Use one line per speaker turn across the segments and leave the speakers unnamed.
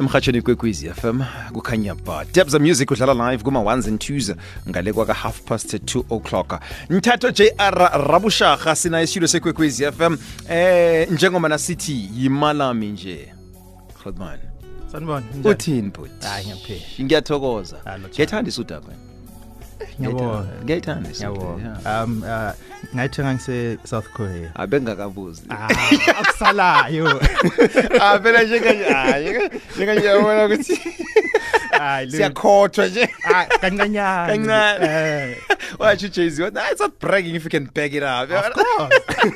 emhatshweni kwekwezi fm kukhanya ba debs music udlala live kuma-1 and 2s ngale kwaka-half past 2 o'clock mthatho jr rabusharha sina isitudio sekwekwezi fm eh njengoba nasithi yimalami nje hotman
sanibona njani?
uthini but
Hayi, ngiyaphila.
ngiyathokoza
Ah, lotsha.
ngiyayithandisa udaba
Ngiyabonga.
ngiyayithandisa
Ngiyabonga. um uh, ngayithenga ngise-south korea
Ah, abengakabuzi
Ah, akusalayo Ah,
phela njenganje njenganje uyabona ukuthi
Hayi, lo-
siyakhothwa nje
Ah, kancanyana
Kancane.
Eh,
watsho ujayz wathi "Ah, it's not bragging if you can back it up
of course.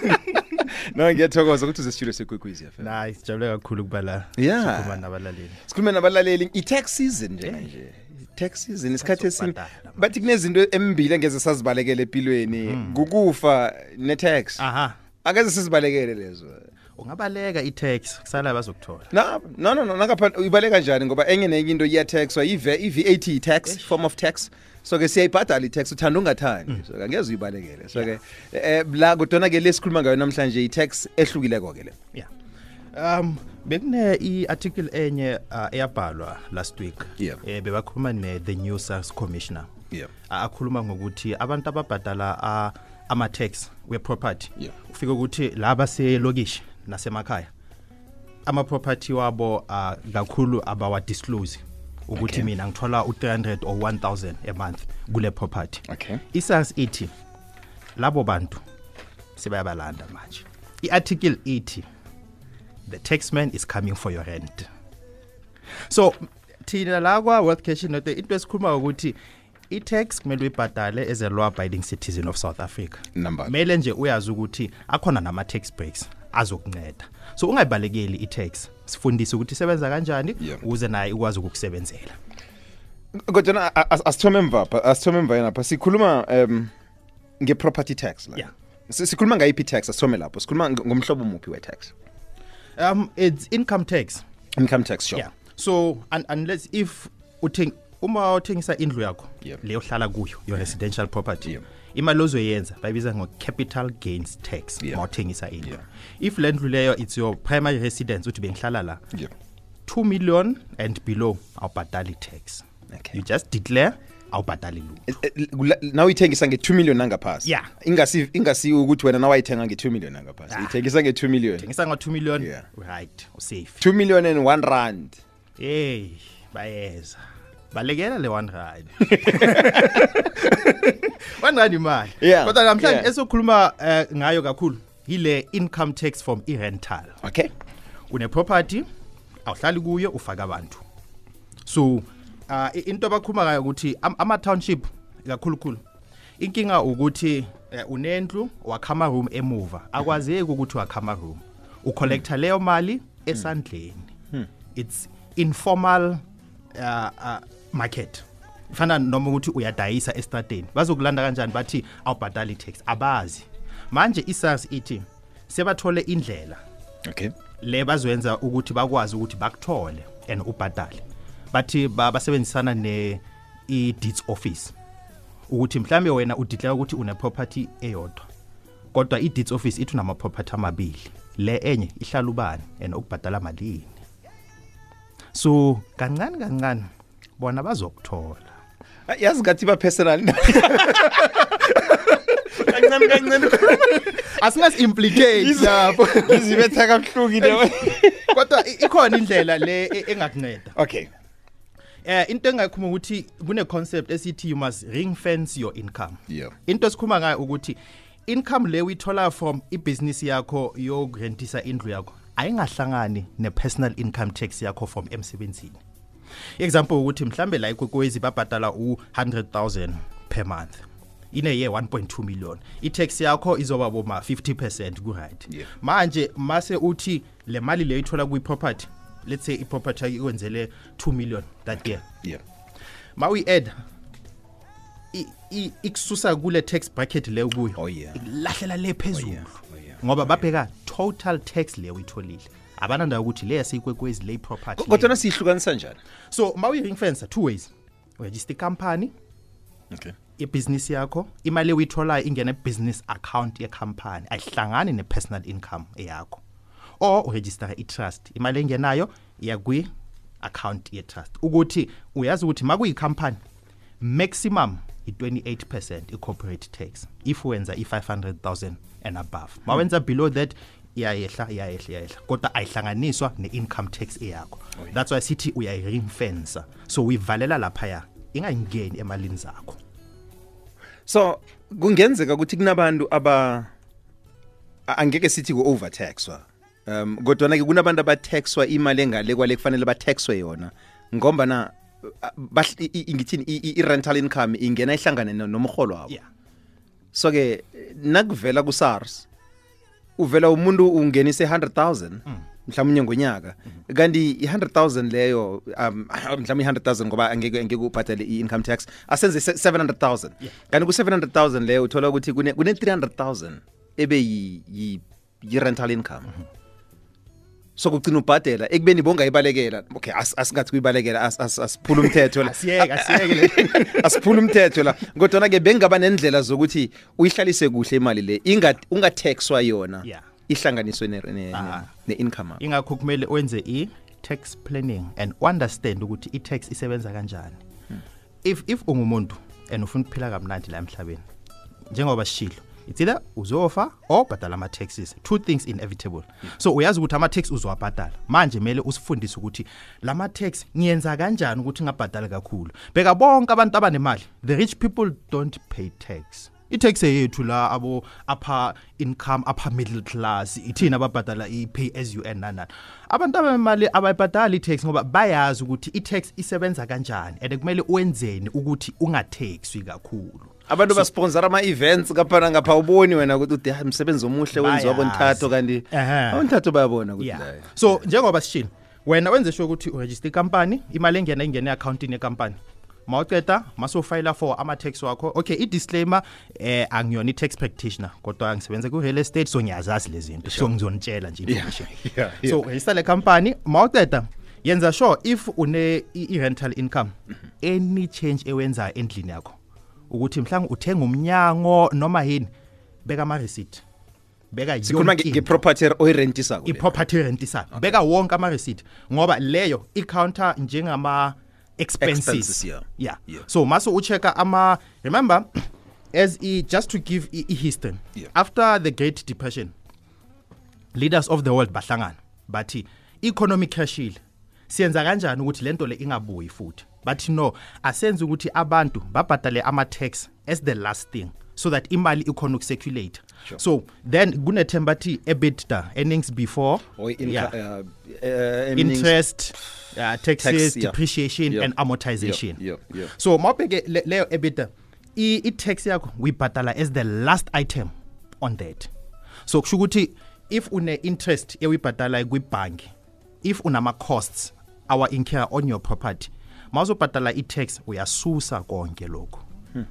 no ngiyathokoza ukuthi uzesitudio sekwekwezi fm
Nah, sijabule kakhulu ukuba la
Yeah.
sikhuluma nabalaleli
sikhulume nabalaleli i-tax season njenganje tax season isikhathi esini
sokubhadala manje.
bathi kunezinto embili engeze sazibalekele empilweni kukufa ne-tax
aha
angeze sizibalekele lezo
ungabaleka i-tax kusala bazokuthola
no no no no, nangapha ibaleka njani ngoba enye nenye into iyathexwa i-vat i-tax form of tax so-ke siyayibhadala i-tax uthanda ungathandi so angeze uyibalekele so-ke um la kodwana-ke le sikhuluma ngayo namhlanje i-tax ehlukileko-ke le
yeah um bekune i-article enye uh, eyabhalwa last week
Yeah.
eh, bebakhuluma ne-the new sars commissioner
Yeah.
Ah, akhuluma ngokuthi abantu ababhadala ah, ama-tax we-property
Yeah.
ufike ukuthi la baselokishi nasemakhaya ama-property wabo ah, kakhulu abawadisclose ukuthi
Okay.
mina ngithola u-300 or 1000 a month kule property
Okay.
isars ithi labo bantu sebayabalanda manje i-article ithi the taxman is coming for your rent so thina la kwa-worth cash note into esikhuluma ukuthi i-tax kumele uyibhadale as a law abiding citizen of south africa
Number.
kumele nje uyazi ukuthi akhona nama-tax breaks azokunceda so ungayibalekeli i-tax sifundise ukuthi isebenza kanjani
Yeah.
ukuze naye ikwazi ukukusebenzela
kodwana a- a- asithome emvapha asithome emva yenapha sikhuluma um nge-property tax la
Yeah.
Si- sikhuluma ngayiphi i-tax asithome lapho sikhuluma ng- ngomhlobo muphi we-tax
um it's income tax
income tax sure
yeah so un unless if utheng uma uthengisa indlu yakho
Yep.
leyo hlala kuyo your residential property
Yep.
imali ozoyenza bayibiza ngo-capital gains tax
Yeah.
ma uthengisa indlu
Yeah.
if le ndlu leyo it's your primary residence uthi bengihlala la
Yeah.
2 million and below awubhadali tax
Okay.
you just declare awubhadali lu
Eh, eh, la- na uyithengisa nge-2 million nangaphasi
Yeah.
ingasi ingasiwo ukuthi wena nawayithenga nge-2 million nangaphasi
Ah.
uyithengisa nge-2 million
thengisa ngo-2 million
Yeah.
right usafe
2 million and 1 rand
hey bayeza balekela le one rand one rand imali
Yeah,
kodwa namhlanje
yeah.
esokhuluma eh, ngayo kakhulu yile income tax from i-rental
okay
uneproperty awuhlali kuyo ufake abantu so uh, i- into abakhuluma ngayo ukuthi am- ama-township kakhulukhulu inkinga ukuthi uh, unendlu wakha ama-room emuva akwazeki ukuthi wakha ama-room ucollecta leyo mali esandleni it's informal uh, uh, market fana noma ukuthi uyadayisa estradeni bazokulanda kanjani bathi awubhadali i-tax abazi manje i-sars ithi sebathole indlela
okay
le bazoyenza ukuthi bakwazi ukuthi bakuthole and ubhadale bathi ba- basebenzisana ne i-deeds office ukuthi mhlambe wena udeclare ukuthi une property eyodwa kodwa i-deeds office ithi unama property amabili le enye ihlala ubani and ukubhadala malini so kancane kancane bona bazokuthola
Ah, yazi ngathi ba-personal kancane kancane
asingasi-implicate lapho
izibetha kabuhlungu into
kodwa i- ikhona indlela le e- engakunceda
okay
Eh into engayikhuluma ukuthi kune concept esithi you must ring fence your income.
Yeah.
Into esikhuluma ngayo ukuthi income le uyithola from ibusiness yakho yokurentisa indlu yakho ayingahlangani nepersonal income tax yakho from emsebenzini. Example ukuthi mhlambe la ikwekwezi babhadala u100000 per month. ine year 1.2 million i-tax yakho izoba boma 50% ku-right
Yeah.
manje mase uthi le mali leyo ithola kwi-property let's say i-property ikwenzele 2 million that year
yeah
ma uyi-add i- i- ikususa kule tax bracket leyo kuyo
Oh, yeah.
ikulahlela le phezulu
Oh, yeah.
ngoba babheka total tax leyo uyitholile abanandawo ukuthi le yaseyikwekwezi le i-property le.
kodwana siyihlukanisa njani
so ma uyi-ring fencer two ways urejista ikampani
okay
ibhizinisi yakho imali oyitholayo ingena ebusiness account yekhampani ayihlangani ne-personal income yakho or urejistara i-trust imali engenayo iya kwi account ye trust ukuthi uyazi ukuthi makuyi company maximum i28% i corporate tax if wenza i500000 and above mawenza below that iyayehla iyayehla iyayehla kodwa ayihlanganiswa ne-income tax eyakho that's why sithi uyayirinfensa so uyivalela laphaya ingayingeni emalini zakho
so kungenzeka ukuthi kunabantu aba a- angeke sithi ku-overtaxwa um kodwana-ke kunabantu abathexwa imali engale kwale kufanele bathexwe yona ngombana uh, bahl- i- i- ngithini i- i- i-rental income ingena ihlangane no- nomrholo wabo
yeah
so-ke nakuvela ku-sars uvela umuntu ungenise 100,000 mhlawumbe ngonyaka kanti i-100 000 leyo um, mhlawumbe i-100 000 ngoba angeke angeke ubhadale i-income tax asenze se- 700 000 kanti ku-700 000 leyo uthola ukuthi kune- kune-300 000 ebe yi- yi- yi-rental income so kugcina ubhadela ekubeni bongayibalekela okay as- asingathi kuyibalekela as- as- asiphula umthetho la
asiyeke asiyeke le
asiphula umthetho la kodwana-ke bengingaba nendlela zokuthi uyihlalise kuhle imali le Inga- ungatexwa yona
Yeah.
ihlanganiswe ne- ne- ne-
Ah.
ne-income ne
ingakho kumele wenze i-tax planning and understand ukuthi i-tax isebenza kanjani if if ungumuntu and ufuna ukuphila kamnandi la emhlabeni njengoba sishilo it's either uzofa or bhadala ama-taxes two things inevitable so uyazi ukuthi ama-tax uzowabhadala manje kumele usifundise ukuthi la ma-tax ngiyenza kanjani ukuthi ngabhadali kakhulu bheka bonke abantu abanemali the rich people don't pay tax i-tax yethu la abo upper income upper middle class ithina ababhadala i-pay as un nanani abantu abemali abayibhadali i-tax ngoba bayazi ukuthi i-tax isebenza kanjani and kumele wenzeni ukuthi ungathexwi kakhulu
abantu basponsora ama-events ngaphana ngapha uboni wena ukuthi ude, "Hayi, msebenzi omuhle wenziwa
Bayazi.
bonthatho kanti
Ehhe.
abonthatho bayabona ukuthi
yeah
hayi.
so njengoba sishilo wena wenze sure ukuthi uregister ikampani imali engena ingene e-akhawuntini yekampani mawuceda masofayila for ama-tax wakho okay i-disclaimer eh angiyona i-tax practitioner kodwa ngisebenza ku-real estate so ngiyazazi le zinto so ngizonitshela nje information
yeah, yeah.
so register le company mawuceda yenza sure if une i- i-rental income
Mm-hmm.
any change ewenzayo endlini yakho ukuthi mhlawumbe uthenga umnyango noma yini beka ama-receipt beka
sikhuluma
yonke
nge-
into
nge-property er-, oyirentisako le.
i-property rent isayo beka wonke ama-receipt ngoba leyo i-counter
Expenses,
njengama-expenses
yeah.
yeah
Yeah.
so mase u-check-a ama remember as i just to give i- i-history
Yeah.
after the great depression leaders of the world bahlangana bathi i-economy crashile siyenza kanjani ukuthi lento le ingabuyi futhi bathi no asenze ukuthi abantu babhadale ama-tax as the last thing so that imali ikhona ukuseculator
Sure.
so then kunethemba bathi ebitda earnings before
Or inca-
yeah,
uh, uh, earnings.
interest uh, taxes
Tax, yeah.
depreciation
Yeah.
and amortization
Yeah, yeah, yeah.
so mawubheke le- leyo ebitda i- i-tax yakho uyibhadala as the last item on that so kusho ukuthi if une-interest ewuyibhadalayo kwibhanki if unama-costs our incare on your property mawuzobhadala i-tax uyasusa konke lokhu
Hmm.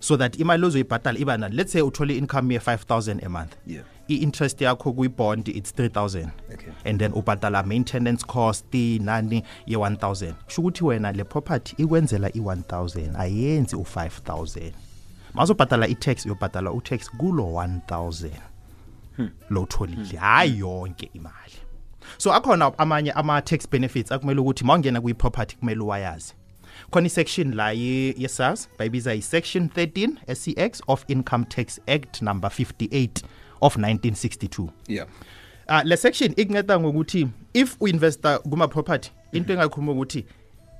so that imali ozoyibhatala iba nani let's say uthole i-income ye-5000 a month
Yeah.
i-interest yakho kwi-bond it's 3000
Okay.
and then ubhatala maintenance cost nani ye-1000 kusho ukuthi wena le property ikwenzela i-1000 ayenzi u-5000 mazobhatala i-tax uyobhatala u-tax kulo 1000 lo utholile hayi yonke imali so akhona amanye ama-tax benefits akumele ukuthi ma ungena kwi-property kumele uwayazi khona i-section la ye- ye-sars bayibiza yi-section 13 sex of income tax act number 58 of 1962
yeah
Ah le section ikunceda ngokuthi if uinvesta kuma property into engakhuluma ukuthi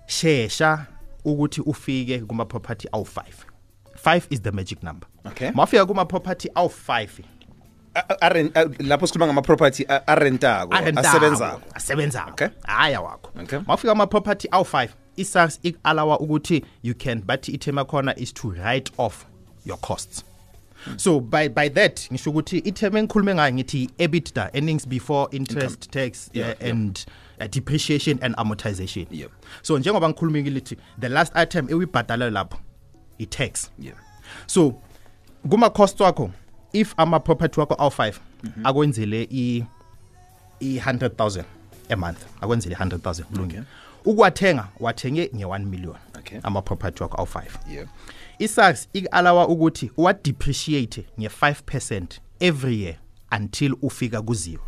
shesha ukuthi ufike kuma property awu5 5 is the magic number
Okay.
mafika kuma property awu5
A- a- aren- a- lapho sikhuluma ngama-property a- arentako asebenzako
asebenzayo
Okay.
haya wakho
Okay.
mafika ama property awu5 isars ikalawa ukuthi you can but ithema khona is to write off your costs so by by that ngisho ukuthi itheme engikhulume ngayo ngithi EBITDA earnings before interest tax
Yeah,
uh,
yeah.
and uh, depreciation and amortization
Yep.
so njengoba ngikhulumile ukuthi the last item ewibhadala lapho i tax
Yeah.
so kuma cost wakho if ama property wakho awu5
Mhm.
akwenzele i i-100000 a month akwenzele i-100000 kulungile ukwathenga wathenge nge-1 million
Okay.
ama-property wakho awu-5
Yeah.
i-sars iku-alawa ukuthi uwadepreciate nge-5 percent every year until ufika ku-zero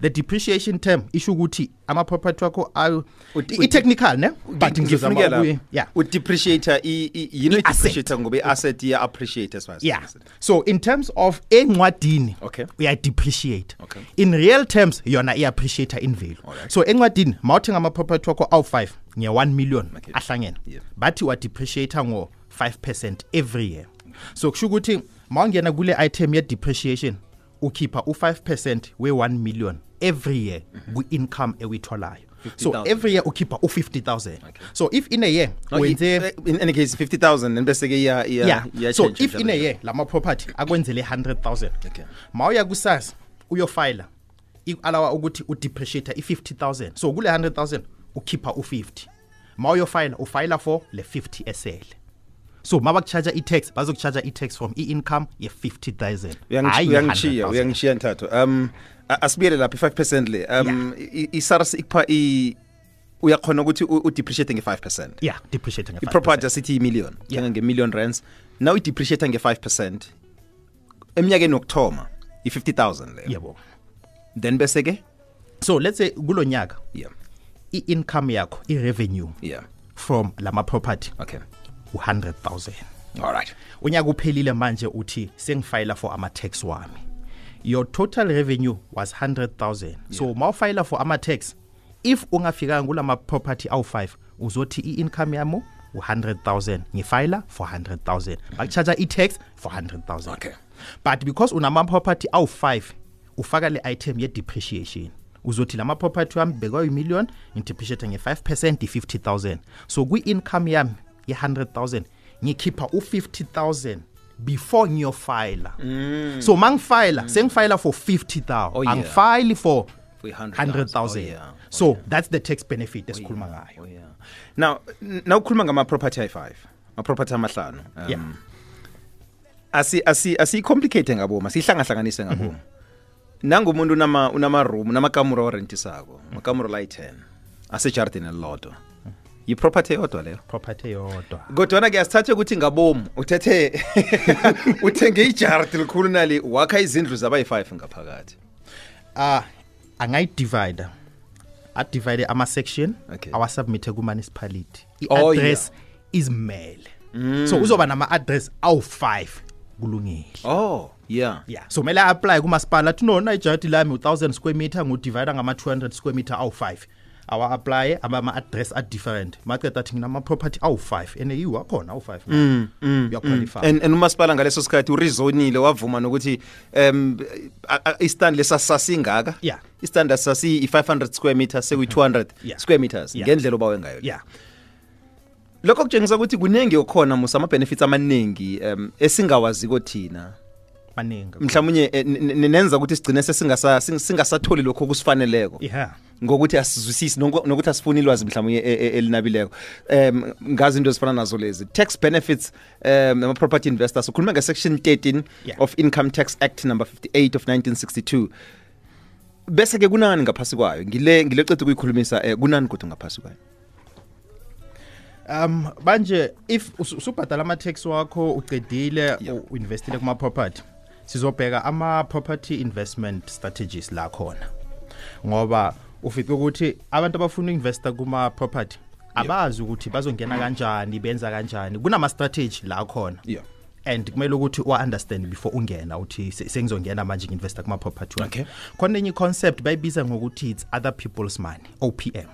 the depreciation term isho ukuthi ama-property wakho ayo
Uti- uti-
i-technical ne but ngizama ukuye- yeah
udepreciator yini
I-asset.
depreciator ngoba i-asset iya-appreciate as far as-
yeah so in terms of encwadini
Okay.
uyayidepreciate
Okay.
in real terms yona iyaappreciata in value
Alright.
so encwadini mawuthenga amaproperty wakho awu-5 nge-1 million
Okay.
ahlangene
Yeah.
bathi wadepreciata ngo-5 percent every year so kusho ukuthi mawungena kule item ye-depreciation ukhipha u-5 percent we-1 million every year
Mm-hmm.
kwi-income ewuyitholayo so
50,000.
every year ukhipha u-50 000 so if in a year
No, i- eh,
wenze
in any case 50000 and bese ke iya iya
yeah
iya
so
change
if in a
njalo.
year lama property akwenzele 100000
Okay.
mawuya kusasa uyofayila ikalawa ukuthi udepreciate i50000 so kule 100000 ukhipha u50 mawuyofayila ufayila for le 50 esele so mabakucharge i-tax bazokucharge i-tax from i-income ye-50000
Uyangish- uyangishiya uyangishiya ntathu um a- asibuyele lapha i-5 percent le um i- i- i-sars ikupha i- uyakhona ukuthi u- udepreciate nge-5 percent
yeah depreciate
i-property asithi imillion
Yeah.
thenga nge-million rands now idepreciate nge-5 percent eminyakeni wokuthoma i-50 000 leyo
yebo
then bese ke
so let's say kulo nyaka
yeah
i-income yakho i-revenue
yeah
from lama property
okay
u-100000
all right
unyaka uphelile manje uthi sengifayila for ama-tax wami your total revenue was 100000 yeah. so mawufayila for ama-tax if ungafikanga kula ma-property awu-5 uzothi i-income yami u-100000 ngifayila for 100000 bakucharge i-tax for 100000
Okay.
but because unama-property awu-5 ufaka le item ye-depreciation uzothi la ma-property wami bekwayi-million ngidepreciate nge-5 percent i-50 000 so kwi-income yami ye-100 000 ngikhipha u-50 000 before ngiyofayila mm. so ma ngifayila sengifayila for 50 000
Hmm. Oh, yeah.
angifayili for
For
100 000
Oh, yeah. Oh,
so that's the tax benefit esikhuluma ngayo
oh yeah now n- nawukhuluma ngama-property ayi-5 ama-property amahlanu um,
yeah
asi asi asiyicomplicate ngaboma siyihlangahlanganise
Mhm.
ngaboma nangumuntu unama unama room unamakamura orentisako
Mhm.
makamura la 10 asejardin elilodwa yi-property eyodwa leyo
property yodwa
kodwana ke asithathe ukuthi ngabomu uthethe uthenge ijardi likhulu nali wakha izindlu zabayi-5 ngaphakathi
ah angayidivida adivide ama-section
Okay.
awasubmithe ku-municipality
Oh, Hmm.
i-address izimele so uzoba nama-address awu-5 kulungile
oh yeah
yeah so kumele a-aplaye kumasipala athi no na ijadi lami u-1000 square meter ngudivida ngama-200 square meter awu-5 awa-aplaye ama-address a-different maceda athi nginama-property awu-5 and yiwo akhona awu-5 uyaqualify
mm. and and umasipala ngaleso sikhathi urizonile wavuma nokuthi um a- a- istandi lesi asisasingaka
Yeah. Mm-hmm.
istandi asisasiyi-500 square meters sekuyi-200
Yeah.
square meters
Yeah.
ngendlela obawe ngayo le.
yeah
lokho kutshengisa ukuthi kuningi okhona musa ama-benefits amaningi um esingawaziko thina
maningi
mhlawumbe nenza ukuthi sigcine sesingasa- sing- singasatholi lokho kusifaneleko
yeah
ngokuthi asizwisisi nongo- nokuthi asifuni ilwazi mhlawumbe e- elinabileko um ngazi into ezifana nazo lezi tax benefits um ama-property investors ukhulume nge-section 13
Yeah.
of income tax act number 58 of 1962 bese ke kunani ngaphasi kwayo ngile ngile cede ukuyikhulumisa um kunani kodwa ngaphasi kwayo
um manje if usu- usubhadala ama-tax wakho ucedile
Yeah.
u- uinvestile kuma-property sizobheka ama-property investment strategies la khona ngoba ufice ukuthi abantu abafuna uinvesta kuma-property abazi ukuthi bazongena kanjani benza kanjani kunama-strategy la khona
Yeah.
and kumele ukuthi uwa-understand before ungena uthi se- sengizongena manje ngi-investa kuma-property wami
Okay.
khona enye i-concept bayibiza ngokuthi it's other people's money opm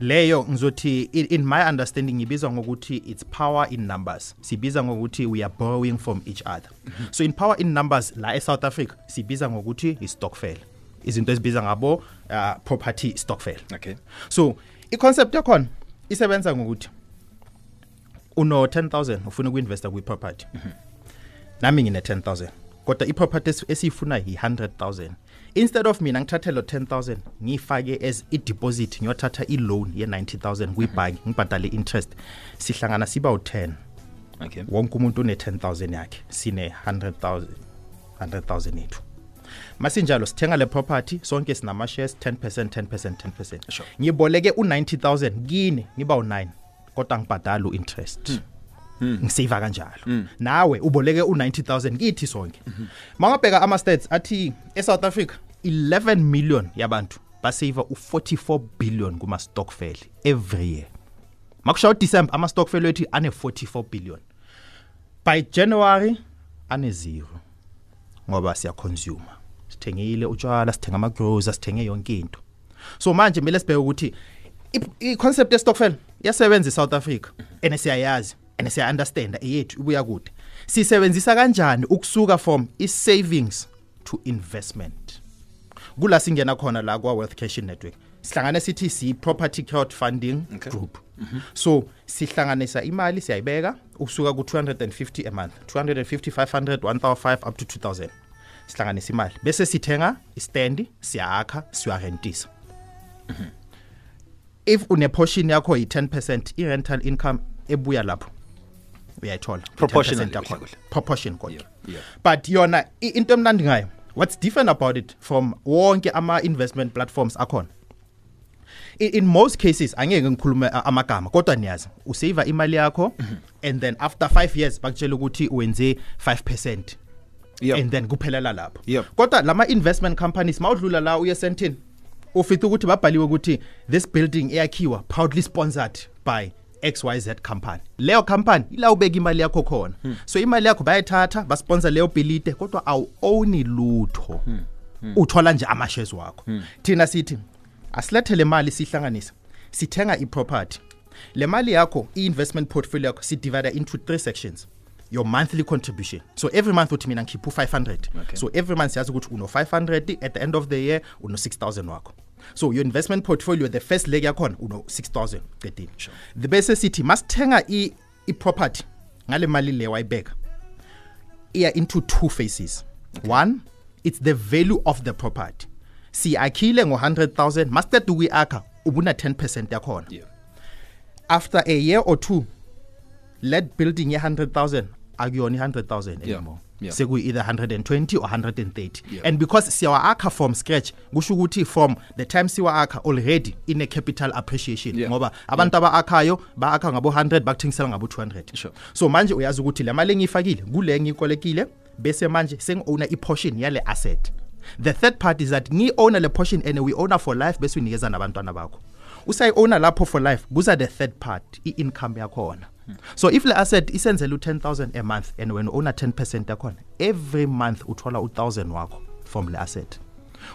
leyo ngizothi in, in my understanding ngibizwa ngokuthi it's power in numbers sibiza ngokuthi we are borrowing from each other so in power in numbers la e-south africa sibiza ngokuthi i-stockfel izinto ezibiza ngabo uh, property stockfel
okay
so i-concept yakhona isebenza ngokuthi uno 10000 ufuna uku-investa kwi-property nami ngine-10000 kodwa i-property esi- esiyifunayo yi-100000 instead of mina ngithathe lo 10000 ngiyifake as i-deposit ngiyothatha i-loan ye-90000 kwibhanki ngibhadale i-interest sihlangana siba u-10
okay
wonke umuntu une-10000 yakhe sine-100000 100000 yethu masinjalo sithenga le property sonke sinama-shares 10 percent 10 percent 10 percent
Sure.
ngiboleke u-90000 kini ngiba u-9 kodwa ngibhadali u-interest hmm ngiseva kanjalo Hmm. nawe uboleke u90000 kithi sonke mawungabheka ama stats athi eSouth Africa 11 million yabantu basave u44 billion kuma stockfell every year makushawa uDecember ama stockfell wethu ane 44 billion by January ane zero ngoba siya consumer sithengile utshwala sithenga ama groceries sithenge yonke into so manje mele sibheke ukuthi i- i concept ye stockfell iyasebenza eSouth Africa ene siyayazi ene siya understand eyethu ibuya kude sisebenzisa kanjani ukusuka from i savings to investment kula singena khona la kwa wealth cash network sihlangane sithi si property crowd funding
Okay.
okay. group so sihlanganisa imali siyayibeka ukusuka ku 250 a month 250 500 1005 up to 2000 sihlanganisa imali bese sithenga istand siyakha siyorentisa if une portion yakho yi 10% i rental income ebuya lapho uyayithola
Proportionally,
10% yakhona.
kuhle, kuhle.
proportion kodwa
Yeah, yeah.
but yona i- into emnandi ngayo what's different about it from wonke ama investment platforms akhona in, in most cases angeke ngikhulume a- amagama kodwa niyazi usave imali yakho
Mhm.
and then after 5 years bakutshela ukuthi wenze 5%
Yep.
and then kuphelela lapho
Yep.
kodwa lama investment companies mawudlula la uye sentini ufitha ukuthi babhaliwe ukuthi this building eyakhiwa proudly sponsored by XYZ company leyo company ila ubeka imali yakho khona hmm. so imali yakho bayayithatha basponsor leyo bhilide kodwa awu own lutho hmm. uthola nje amashares wakho hmm. thina sithi asilethe le mali sihlanganise sithenga iproperty le mali yakho i-investment portfolio yakho sidivide into three sections your monthly contribution so every month uthi mina ngikhipha u-500
Okay.
so so every month siyazi ukuthi uno-500 at the end of the year uno-6000 wakho so your investment portfolio the first leg yakhona uno-6000 qedile
Sure.
the bese sithi masithenga i- i-property ngale mali le wayibeka iya into two phases one it's the value of the property siyakhile ngo-100000 masiqeda ukuyakha ubuna 10 percent yakhona
Yeah.
after a year or two let building ye 100000 akuyona i-100000
Yeah,
anymore
yeah.
sekuyi-either 120 or 130
Yeah.
and because siyawa-akha from scratch kusho ukuthi from the time siwa-akha already ine-capital appreciation
Yeah.
ngoba abantu aba-akhayo ba-akha ngabo-100 bakuthengisela ngabo-200
Sure.
so manje uyazi ukuthi le mali engiyifakile kule ngiyikolekile bese manje sengi-owna i-portion yale asset the third part is that ngiyi-owna le portion and we owna for life bese uyinikeza nabantwana bakho usayi-owna lapho for life kuza the third part i-income yakhona so if le asset isenzela u-10 000 a month and wena owna 10 percent yakhona every month uthola u-1000 wakho from le asset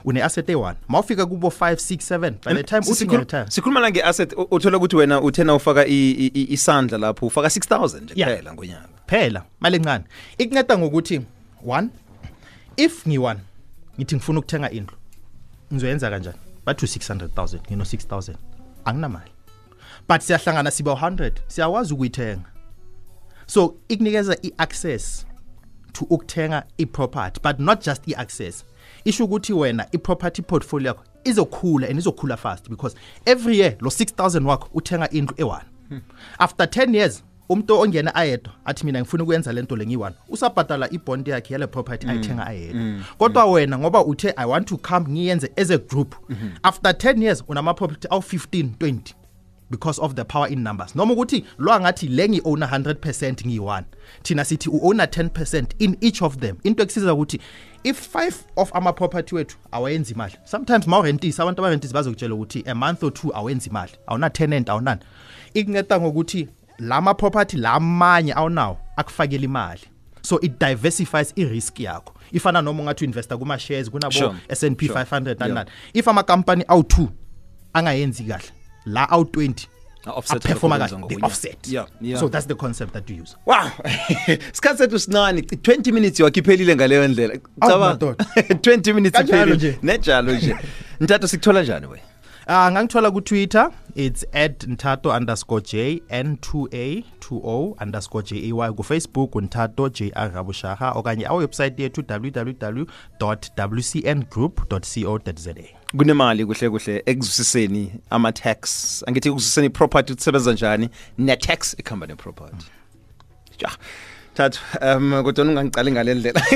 une-asset eyi-one ma ufika kubo 5 6 7 by the time uthi
Sikhul-
ngiyaretire
sikhuluma la nge-asset u- uthola ukuthi wena uthena ufaka i- i- i- isandla lapho ufaka 6000 nje
Yeah.
kuphela ngonyaka
phela mali encane ikunceda ngokuthi one if ngiyi-one ngithi ngifuna ukuthenga indlu ngizoyenza kanjani bathi u-600 000 ngino-6 000 anginamali but siyahlangana siba u-100 siyakwazi ukuyithenga so ikunikeza i-access to ukuthenga i-property but not just i-access isho ukuthi wena i-property portfolio yakho izokhula and izokhula fast because every year lo 6000 wakho uthenga indlu eyi-one after 10 years umuntu ongena ayedwa athi mina ngifuna ukwenza lento le ngiyi-one usabhadala ibhondi yakhe yale property ayithenga ayedwa kodwa wena ngoba uthe i want to come ngiyenze as a group after 10 years unama-property awu-15 20 because of the power in numbers noma ukuthi lo angathi le ngi-owna 100 percent ngiyi-one thina sithi u-owna 10 percent in each of them into ekusiza ukuthi if five of ama-property wethu awayenzi imali sometimes ma urentisa abantu abarentisi bazokutshela ukuthi a month or two awenzi imali awuna-tenant awunani ikunceda ngokuthi la ma-property la manye awunawo akufakela imali so it diversifies i-risk yakho ifana noma ungathi u-investa kuma-shares
Sure.
kunabo-s n p
Sure.
500
Yeah.
nani nani if amakampani awu-two angayenzi kahle la awu-20
A-offset
aperforma
lokho kwenza
kahle
ngokunye.
they offset
Yeah, yeah.
so that's the concept that we use
wow isikhathi sethu sinani 20 minutes wakhiphelile ngaleyo ndlela Cabanga.
madoda.
20 minutes
Kanjalo
iphelile.
nje.
nejalo nje mntathu sikuthola njani wena
uh, ngangithola kutwitter it's at ntato underscore j n 2 a 20 underscore j a y kufacebook ntato j r rabushaha okanye awewebsayithi yethu www wcn group co za
kunemali kuhle kuhle ekuzwisiseni ama-tax angithi ekuzwisiseni i-property kusebenza njani ne-tax ekuhamba ne-property ja thathu um kodwana ungangicali ngale ndlela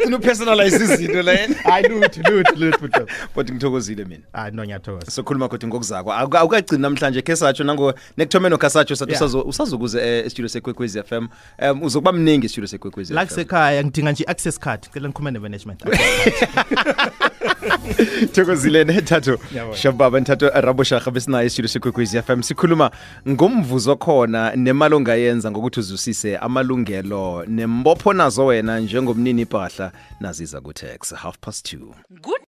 Ufuna upersonalize izinto la
hayi luthi luthi luthi
but ngithokozile mina
hayi Ah, no ngiyathokoza
sokhuluma kodwa ngokuzakwa Awuka- awukagcini namhlanje khe satsho nango nekuthomeni okhasatsho sathi
Yeah.
usazo- usazokuze eh, esitudio sekwekwezi f m um uzokuba mningi esitudio sekwekwezi
la kusekhaya ngidinga nje i-access card cela ngikhulume ne-management
thokozilene thato
Yabona.
shababa nithatho rabosharha besinayo isitulo sekwekwezi fm sikhuluma ngomvuzo khona nemali ongayenza ngokuthi uzwisise amalungelo nembopho nazo wena njengomnini impahla naziza ku-tax half past two
Good